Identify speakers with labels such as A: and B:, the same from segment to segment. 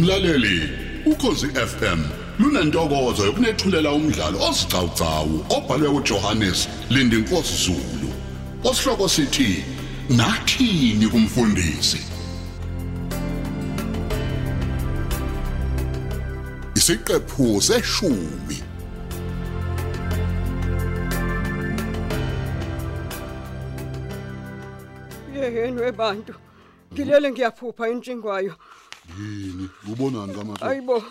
A: Mlaleli, ukhosi FM lunantokozo yokunethulela umdlalo osiqhawqhawo obhalwe uJohannes Lindinkosi Zulu. Osihloko sithi nathini kumfundisi. Isiqephu seshumi.
B: yeyeni webantu ngilele ngiyaphupha intshingwayo
A: Yini? Ubonani kaMathebo?
B: ayibo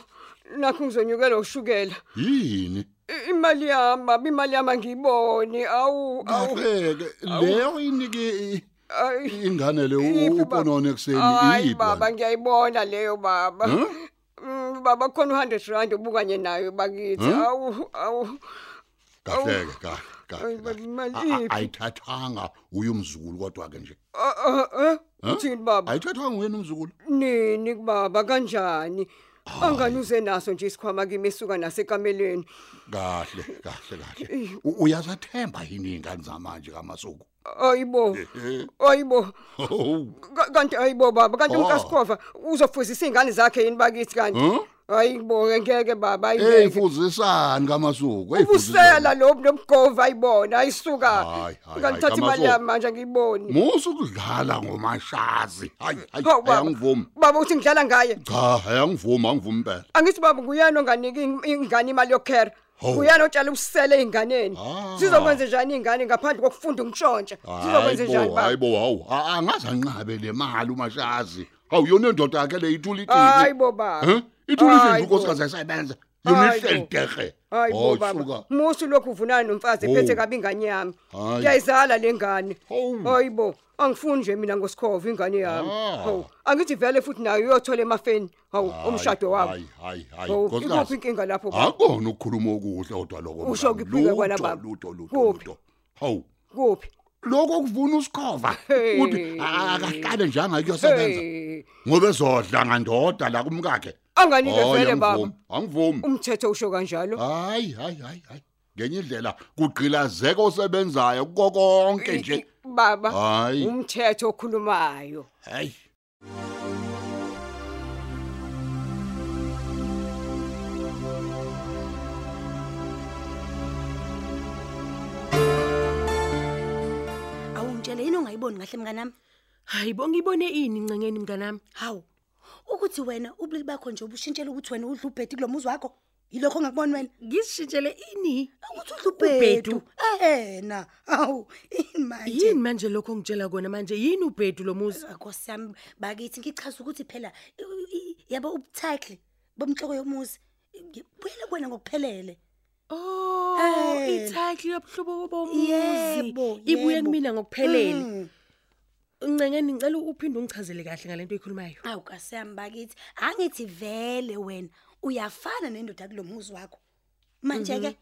B: nakho ngizonyukelwa ushukela
A: Yini?
B: I- imali yami abi imali yami angiyiboni awu awu
A: Awuheke eh, leyo inike
B: ayi.
A: ingane le
B: Iphi baba?
A: uBonani ekseni
B: hayi
A: iyiba.
B: baba ngiyayibona leyo baba
A: Huh?
B: Mm, baba khona u100 rand obukanye nayo bakithi
A: Huh?
B: awu awu
A: Kahleke kahle. kahle,
B: Ayi, baba, imali
A: kahle.
B: iphi?
A: A- a- Ayithathanga uyumzukulu kodwa ke nje.
B: Ah, ah, eh
A: Huh?
B: uthini baba
A: Ayithathanga wena umzukulu.
B: nini kubaba kanjani angani uze naso nje isikhwama kimi esuka nasekamelweni
A: Kahle kahle kahle. U- Uyazathemba yini ingane zamanje kamasuku?
B: ayibo ayibo
A: Oh.
B: Ka- kanti ayibo baba kanti
A: Oh. Hmm?
B: umkasikhova uzofuzisa ingane zakhe yini bakithi kanti
A: Huh?
B: ayibo ngeke baba
A: Hey
B: ayiyeke
A: mfuzisani kamasuku. Hey
B: ubusela lo nomgova ayibona ayisuka
A: Hayi, hayi, hayi,
B: ngalithatha imali
A: kaMazo.
B: yami manje angiyiboni
A: Musu kudlala ngomashazi. Hayi hayi
B: Hawu, baba.
A: ayangivumi.
B: baba uthi ngidlala ngaye
A: Cha ayangivumi angivumi impela.
B: angithi baba nguyena onganiki ing- ingane imali yokhera
A: Hawu.
B: nguyena otshala ubusela ey'nganeni
A: Ah.
B: zizokwenze njani iy'ngane ngaphandle kokufunda ukutshontsha zizokwenze njani baba
A: hayibo hawu A- angazanqabe le mali umashazi hawu yona indoda yakhe le
B: hayi
A: ithulitile
B: bo baba
A: Eh? ithulitile nje
B: Hayi bo.
A: unkosikazi ayisebenza yona
B: Hayi bo.
A: ihlelitehe
B: hayi bo baba musu lokhu uvunana nomfazi
A: Oh.
B: ephethe kabi ingane yami
A: Hayi.
B: ngiyayizala lengane
A: Hawu.
B: hayi bo angifuni nje mina ngosikhova ingane yami
A: Ah.
B: hawu angithi vele futhi nayo uyothola emafeni hawu umshado wabo
A: hayi hayi hayi
B: hawu ikuphi
A: nkosikazi
B: inkinga lapho baba
A: akona ukukhuluma okuhle odwa lokho
B: Usho
A: mngani.
B: kuphike kwala
A: Lutho,
B: baba.
A: lutho lutho
B: Kuphi?
A: lutho hawu
B: kuphi
A: lokho kuvuna usikhova
B: Hey.
A: uthi a- akahlale nje angakuyosebenza
B: hey
A: ngoba ezodla ngandoda la kumkakhe
B: anganike
A: Hayi,
B: vele baba
A: angivumi, angivumi
B: umthetho usho kanjalo
A: hayi hayi hayi hayi ngenye indlela kugqilazeka osebenzayo kuko konke nje
B: baba
A: hayi
B: umthetho okhulumayo
A: hayi
C: awungitshele yini ongayiboni kahle mnganami
D: hayi bo ngibone ini ncengeni mnganami
C: hawu ukuthi wena ubulili bakho nje ubushintshela ukuthi wena udla ubhedi kulo muzi wakho yilokho ongakuboni wena
D: ngizishintshele ini
C: ukuthi udla ubhedu ena hawu ini manje
D: yini manje lokho ngitshela kona manje yini ubhedu lo muzi
C: nkosi yami bakithi ngichaza ukuthi phela i- i- i- yabo ubuthaykli bomhloko yomuzi i- buyele kuwena ngokuphelele
D: oh
C: Eh.
D: ithayitle yobuhlobo bomuzi
C: Yebo,
D: ibuye
C: yebo.
D: kumina ngokuphelele
C: Mm.
D: ncengeni ngicela uphinde ungichazele kahle ngalento oyikhulumayo
C: awu nkosi yami bakithi angithi vele wena uyafana nendoda kulo muzi wakho
D: Mhm.
C: manje-ke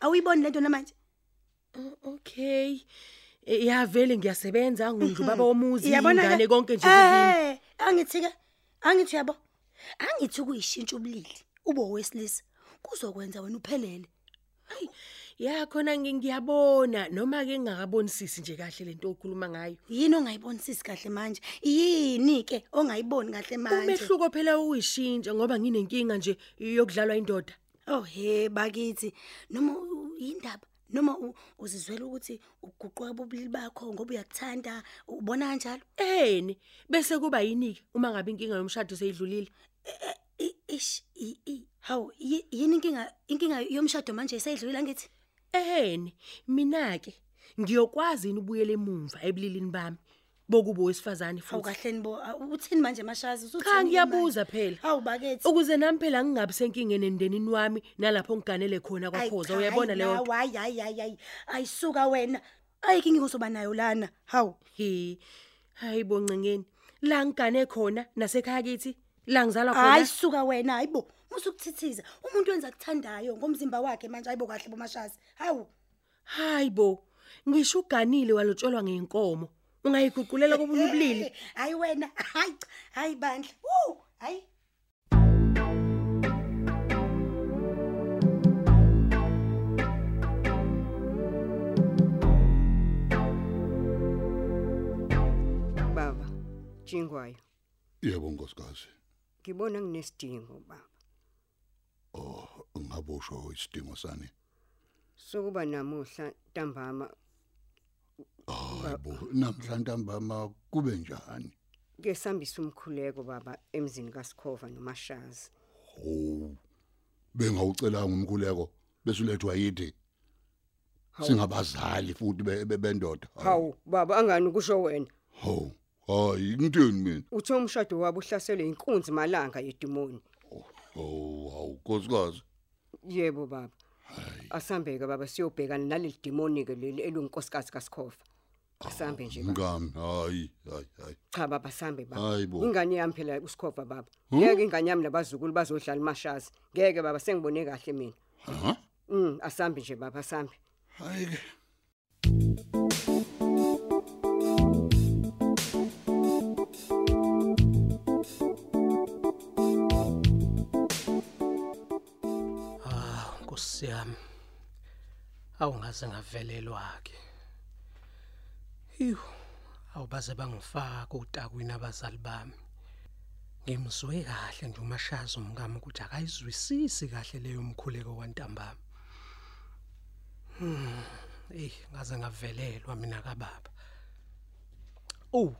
C: awuyiboni le nto namanje
D: okay Eh, ya vele ngiyasebenza ngundlubaba womuzi
C: Iyabona-ke?
D: ingane konke nje kuyini.
C: Eh, angithi ke angithi yabo angithi kuyishintsha ubulili ube owesilisa kuzokwenza wena uphelele
D: ya khona ngi- ngiyabona noma ke ngingakabonisisi nje kahle lento okhuluma ngayo
C: yini ongayibonisisi kahle manje yini ke ongayiboni kahle manje
D: umehluko phela uyishintsha ngoba nginenkinga nje yokudlalwa indoda
C: oh he bakithi noma u- yindaba noma u- uzizwela ukuthi uguquka bobulili bakho ngoba uyakuthanda ubona kanjalo
D: eni bese kuba yini-ke uma ngabe inkinga yomshado seyidlulile
C: I- ish i- i- hawu yi- yini inkinga inkinga yomshado manje seyidlulile angithi
D: eni mina-ke ngiyokwazi yini ubuyela emumva ebulilini bami bokuba wesifazane
C: hawu
D: futhi
C: kahleni bo awu, uthini manje mashazi usuthini
D: cha
C: manje?
D: ngiyabuza phela
C: hawu bakithi
D: ukuze nami phela ngingabi senkingeni emndenini wami nalapho ngiganele khona kwakhoza uyayibona leyo nto
C: hayi hayi hayi hayi ayisuka wena ayike ngingozoba nayo lana hawu
D: he hayi boncengeni la ngigane khona nasekhaya kithi la ngizalwa
C: hayi
D: khona
C: suka wena hayi bo musukuthithiza umuntu wenza kuthandayo ngomzimba wakhe manje hayibo kahle bomashazi hawu
D: hayi bo ngisho uganile walotsholwa ngenkomo ungayiguqulela kobunye ubulili
C: Eh, hayi wena hayi cha, hayi bandla u hayi
B: baba jingwayo
A: yebo nkosikazi
B: ngibona nginesidingo baba
A: Oh, ngabosho isidingo sani.
B: sokuba namuhla ntambama
A: Oh, yebo, namhlanje ntambama kube njani?
B: ke sambisa umkhuleko baba emzini kaSkhova noMashazi
A: Oh. Bengawucela ngumkhuleko bese ulethwa yithi. Singabazali futhi be- be- bendoda.
B: hawu baba angani kusho wena
A: Ho. Hayi, ngithini mina?
B: uthe umshado wabo uhlaselwe inkunzi malanga yedimoni
A: Oh, hawu, nkosikazi.
B: yebo baba
A: Hayi.
B: asambeke baba siyobhekana naleli demoni ke leli elingunkosikazi kaSkhova asambe nje baba
A: Ngami, hayi, hayi, hayi.
B: cha baba sambe baba
A: Hayi bo.
B: ingane yami phela uSkhova baba ngeke ingane yami labazukulu bazodlala iMashazi ngeke baba sengibone kahle mina
A: Ha?
B: mm asambe nje baba asambe
A: Hayi. ke.
E: Ah, Nkosi yami. Awungaze ngavelelwa ke. Hiyo, awubaze bangifaka utakwini abazali bami. Ngimzwe kahle nje umashazi umkami ukuthi akayizwisisi kahle leyo mkhuleko wantambama. Hmm, eh ngaze ngavelelwa mina kababa. Oh,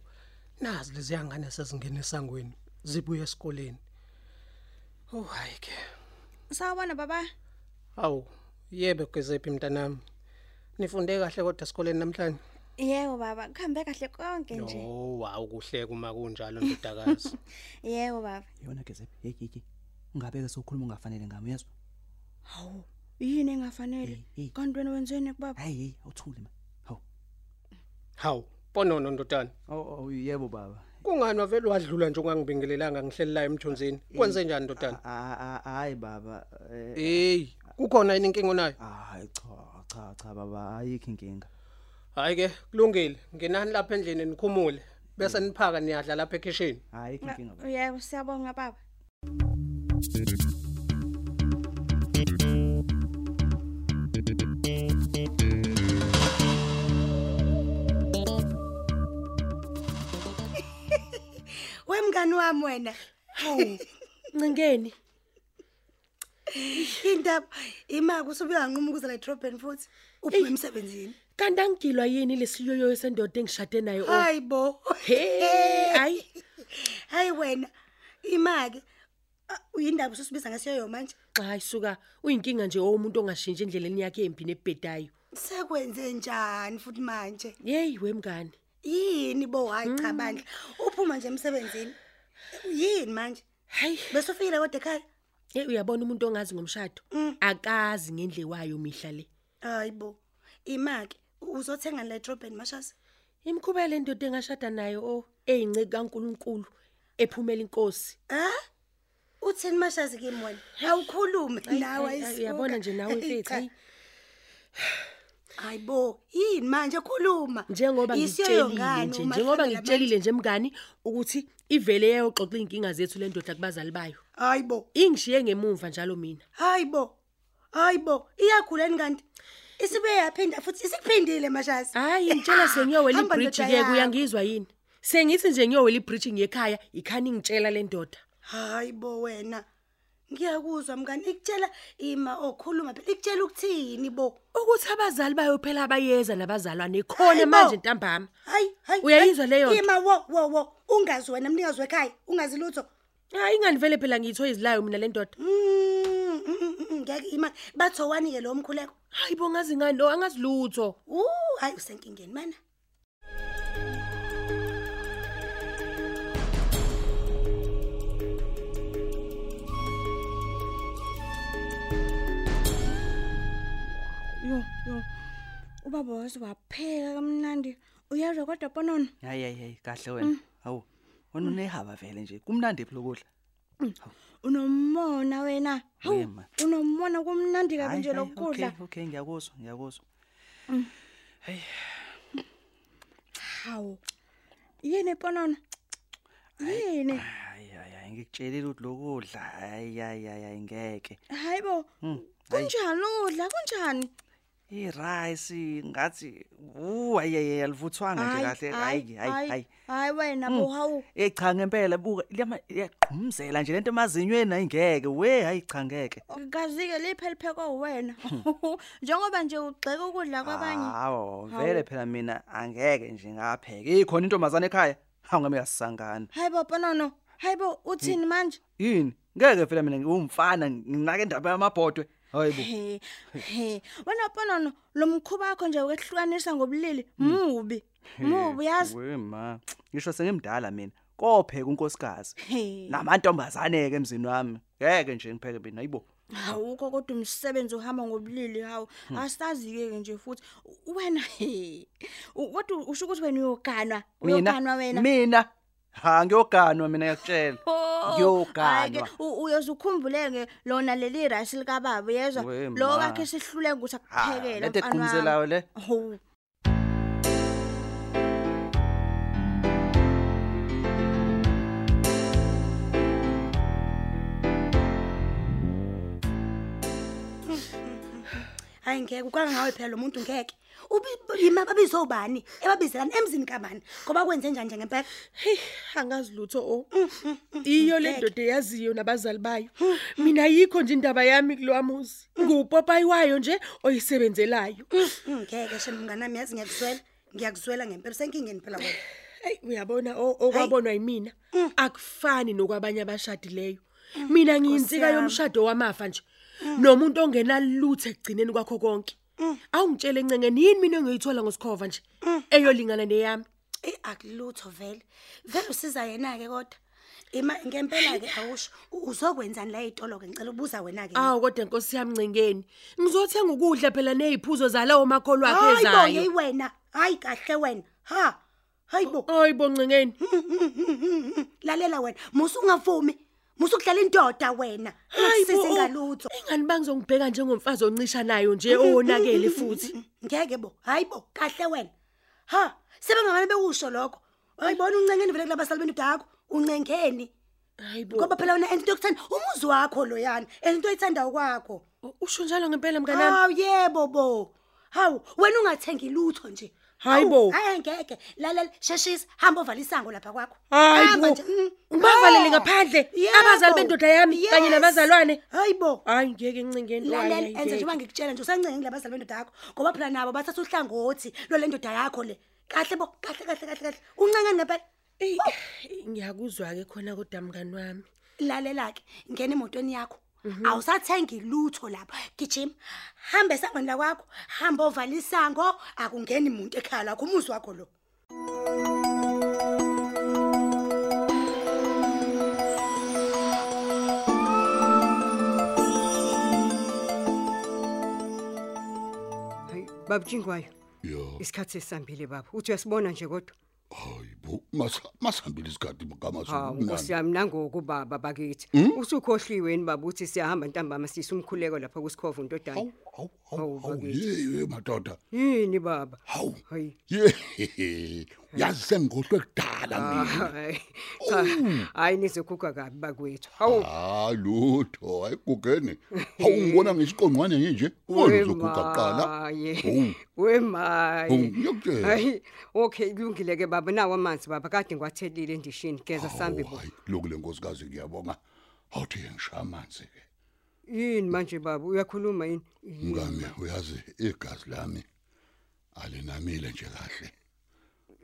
E: nazi lezi yangane sezingena esangweni, zibuya esikoleni. Oh, hayi ke.
F: Sawubona baba.
E: Awu, yebe Gezephi mntanami. Nifunde kahle kodwa esikoleni namhlanje?
F: Yebo baba, kuhambe kahle konke nje.
E: Yo, awu Oh, kuhle kuma kunjalo ndodakazi.
F: Yebo baba.
G: yona gezephi hey hey ungabeke sokhuluma ungafanele ngami uyezwa
F: Hawu, yini engafanele?
G: Hey, hey.
F: Kanti wena wenzeni kubaba?
G: hey hey awuthule ma haw
E: Hawu, bonono ndodana.
G: oh yebo baba
E: Kungani wavele wadlula nje ungangibingelelanga ngihleli la emthunzini? Kwenze njani ndodana?
G: ah, hayi baba eh,
E: Hey, kukhona yini inkingo nayo?
G: hayi cha cha cha baba ayikho inkinga
E: Hayi ke, kulungile. Ngenani lapha endlini nikhumule. Bese niphaka niyadla lapha ekitchen.
G: ayikho inkinga baba
F: Yebo, siyabonga baba.
C: wemngani wami wena
D: Hawu, Ncingeni,
C: indaba imaki usube uyanquma ukuze la edrobheni futhi uphume emsebenzini
D: kanti angilwa yini lesiyoyo sendoda engishade nayo? o?
C: hayi eh. bo
D: Hey, hayi.
C: hayi wena imaki ah, uyindaba ususibiza ngesiyoyo manje
D: Xa isuka uyinkinga nje omuntu ongashintshi endleleni yakhe embi nebhedayo.
C: sekwenze njani futhi manje
D: Hey wemngani.
C: yini bo hayi
D: Mm.
C: cha bandla uphuma nje emsebenzini yini manje
D: Hayi,
C: bese ufikile kodwa ekhaya
D: hey uyabona umuntu ongazi ngomshado
C: Mm.
D: akazi ngendlewayo mihla le.
C: hayi bo imaki u- uzothenga la edrobheni mashasi
D: Imkhubele indoda engashada nayo o eyinceke kaNkuluNkulu ephumela inkosi.
C: ha uthini mashasi kimi wena awukhulume
D: Hayi,
C: nawe
D: hayi, hayi,
C: ayisuka.
D: uyabona nje nawe
C: Hey,
D: mfethu.
C: cha.
D: hayi.
C: hayi bo yini manje khuluma
D: Njengoba
C: Isiyo
D: ngitshelile
C: yongane
D: nje,
C: uma
D: njengoba
C: kuhlangana
D: ngitshelile nje mngani ukuthi ivele yayoxoxa inkinga zethu lendoda kubazali bayo.
C: abantu. hayi bo
D: Ingishiye ngemuva njalo mina.
C: hayi bo hayi bo iyakhuleni kanti isibe yaphinda futhi isikuphindile mashasi
D: Hayi ngitshela sengiyowela
C: Hamba
D: ibridge
C: ndoda
D: ke
C: yakho.
D: kuyangizwa yini? Sengithi nje ngiyowela ibridge ngiyekhaya, ikhani ngitshela lendoda.
C: hayi bo wena ngiyakuzwa mngani ikutshela ima okhuluma phela ikutshela ukuthini bo
D: Ukuthi abazali bayo phela abayeza nabazalwane
C: Hayi
D: khona
C: bo.
D: manje ntambama.
C: hayi hayi
D: Uyayizwa
C: hayi.
D: leyo nto?
C: ima wo wo wo ungazi wena mnikazi wekhaya ungazi lutho
D: Hayi ingani vele phela ngitho izilayo mina lendoda.
C: Mm, mm, mm, mm, ngeke ima bathowani-ke lowo mkhuleko
D: Hayi bongazi ngani lo angazilutho.
C: u hayi usenkingeni mana
F: Yo, yo. Oh, Ubaba wazi wapheka kamnandi. Uyazwa kodwa bonono?
G: hayi hayi hayi kahle wena hawu wena unehaba vele nje kumnandi phela ukudla
F: Unomona wena. Hawu,
G: Wema.
F: unomona kumnandi kabi
G: Hayi,
F: nje
G: hayi, okay,
F: lokudla.
G: okay ngiyakuzwa ngiyakuzwa
F: Hawu. Yini bonono? Yini?
G: hayi hayi hayi ngikutshelile ukuthi lokudla hayi hayi hayi hayi, ngeke
F: Hayibo.
G: Mm, hayi.
F: Kunjani udla kunjani?
G: irice ngathi uhayeyeya livuthwanga nje kahle hayi hayi hayi
F: hayi wena bo hawu
G: Eh cha ngempela buka liyama- liyaqhumuzela nje lento emazinyweni ayingeke we hayi cha ngeke
F: kazike liphelipheko wena
G: Hmm.
F: njengoba nje ugxeka ukudla
G: Ah.
F: kwabanye
G: hawo vele phela mina angeke nje ngapheke ikhona intombazane ekhaya hawu ngame yasisangana
F: hayi bo ponono hayi bo
G: Hmm.
F: uthini manje
G: yini ngeke phela mina ngiwumfana nginake indaba yamabhodwe hayibo
F: he he wena ponono lo mkhuba wakho nje wokwehlukanisa ngobulili mubi mubi yazi
G: Hmm. we ma ngisho sengimdala mina kopheka unkosikazi
F: he
G: namantombazane ke emzini wami ngeke nje ngipheke mina hayibo
F: awukho kodwa umsebenzi uhamba ngobulili hawu
G: Hmm.
F: asazi-ke-ke nje futhi U- wena he U- kodwa usho ukuthi wena uyoganwa uyoganwa wena
G: mina ha ngiyoganwa mina yakutshela
F: Oh,
G: ngiyoganwa
F: hhayi-ke, u- uyoze ukhumbuleke lona leli rasi likababa uyezwa
G: We ma.
F: lo kakhe sihluleke ukuthi
G: Ha,
F: akuphekele
G: lento eqhumuzelayo le
C: Oh.
F: hawu
C: hayi ngeke ukangawe phela lo muntu ngeke ubiyima babizobani ebabizelani emzini kabani ngoba kwenze njani njengempela
D: Hey, angazi lutho o. Mm-hmm. Iyo le ndoda eyaziyo nabazali bayo. Mina yikho nje indaba yami kulowamuzi. Ngupopayi wayo nje oyisebenzelayo.
C: Hmm, ngeke shani mnganami yazi ngiyakuzwela ngiyakuzwela ngempela usenkingeni phela wena
D: Hey, uyabona o- okwabonwa yimina
C: Mm.
D: akufani nokwabanye abashadileyo. Mina ngiyinsika yomshado wamafa nje.
C: Mm.
D: Nomuntu ongenalutho ekugcineni kwakho konke. Awungitshele encengeni yini mina engiyithola ngosikhova nje
C: Mm.
D: eyolingana neyami.
C: eyi akulutho vele vele usiza yena-ke kodwa ima ngempela-ke awusho u- uzokwenzani la ey'tolo-ke ngicela ubuza wena-ke
D: Awu kodwa inkosi yami ncengeni. Ngizothenga ukudla phela neziphuzo zalawo makholwa akhe
C: Hayi bo,
D: ezayo.
C: yeyi wena hayi kahle wena ha hayi bo
D: Hayi boncengeni.
C: lalela wena musungavumi musukudlala indoda wena ungisize ngalutho
D: Ingani bangizongibheka njengomfazi oncisha nayo nje owonakele futhi.
C: ngeke bo hayi bo kahle wena ha sebengangane bekusho lokho ayibona uncengeni vele kulabasali bentu dakho uncengeni
D: Hayibo.
C: ngoba phela wena ento yokuthanda umuzi wakho loyana and into oyithanda kwakho
D: Usho njalo ngempela mnganami.
C: hawu yebo bo hawu wena ungathengi lutho nje
D: Hayi bo.
C: hayi ngeke lalela sheshisa hamba ovalisango lapha kwakho
D: Hayi
C: Hamba
D: bo.
C: nje, mm.
D: Ubavalele
C: Ha.
D: ngaphandle
C: Yebo.
D: abazali bendoda yami kanye
C: Yes.
D: nabazalwane.
C: hayi bo
D: Hayi ngeke incingeni
C: Ah. lalela enze njengoba ngikutshela nje usancenge ngilabazali bendoda yakho ngoba phela nabo bathatha uhlangothi lwale ndoda yakho le kahle bo kahle kahle kahle kahle uncengani ngempela
D: Ngiyakuzwa ke khona kodwa mngani wami.
C: lalela-ke ngena emotweni yakho awusathengi lutho lapha gijima hambe esangweni lakwakho hambe ovala isango akungeni muntu ekhaya lakho umuzi wakho lo
B: hayi babutshingwayo
A: yo
B: isikhathi sesihambile baba uthi uyasibona nje kodwa
A: hayibo masa- masihambile isikhathi
B: hawu
A: kamasulu
B: Ah, nkosi yami nangoku baba bakithi
A: Hmm?
B: usukhohliwe yini baba uthi siyahamba ntambama siyise umkhuleko lapha kusikhova untodana
A: hawu hawu
B: Hawu,
A: hawu hawu
B: bakithi.
A: ye ye, madoda
B: yini baba
A: hawu
B: hayi
A: ye yazi sengigohlwe kudala mina
B: Hayi, cha
A: Hmm.
B: hayi nizokhukha kabi bakwethu hawu
A: hayi lutho hayi gugene hawu ngibona ngisiqongqwane nje ubona uzoguga kuqala
B: wemaye
A: Hawu. Hawu,
B: wemaye
A: ngiyakutshela.
B: hayi okay kulungile ke baba nawo amanzi baba kade ngiwathelile endishini geza
A: Oh.
B: sambe
A: hayi lokule nkosikazi ngiyabonga awuthi ngisha amanzi ke
B: yini manje baba uyakhuluma yini Yini.
A: mngame uyazi igazi lami alinamile nje kahle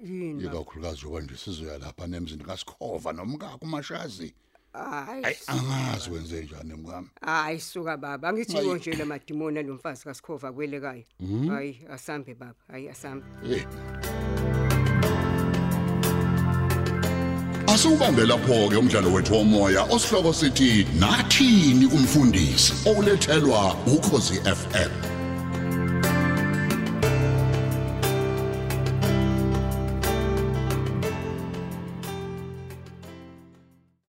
B: yini baba
A: ikakhulukazi yoba nje sizoya lapha nemzini kasikhova nomkakho umashazi
B: hayi
A: hayi angazi wenze njani mngame
B: hayi suka baba angithiwo
A: Hayi. Hmm?
B: nje la madimoni lo mfazi kasikhova kwelekayo hayi asambe baba hayi asambe
A: Eh. Asubambe lapho ke umdlalo wethu womoya osihloko sithi nathini umfundisi owulethelwa ukhosi FM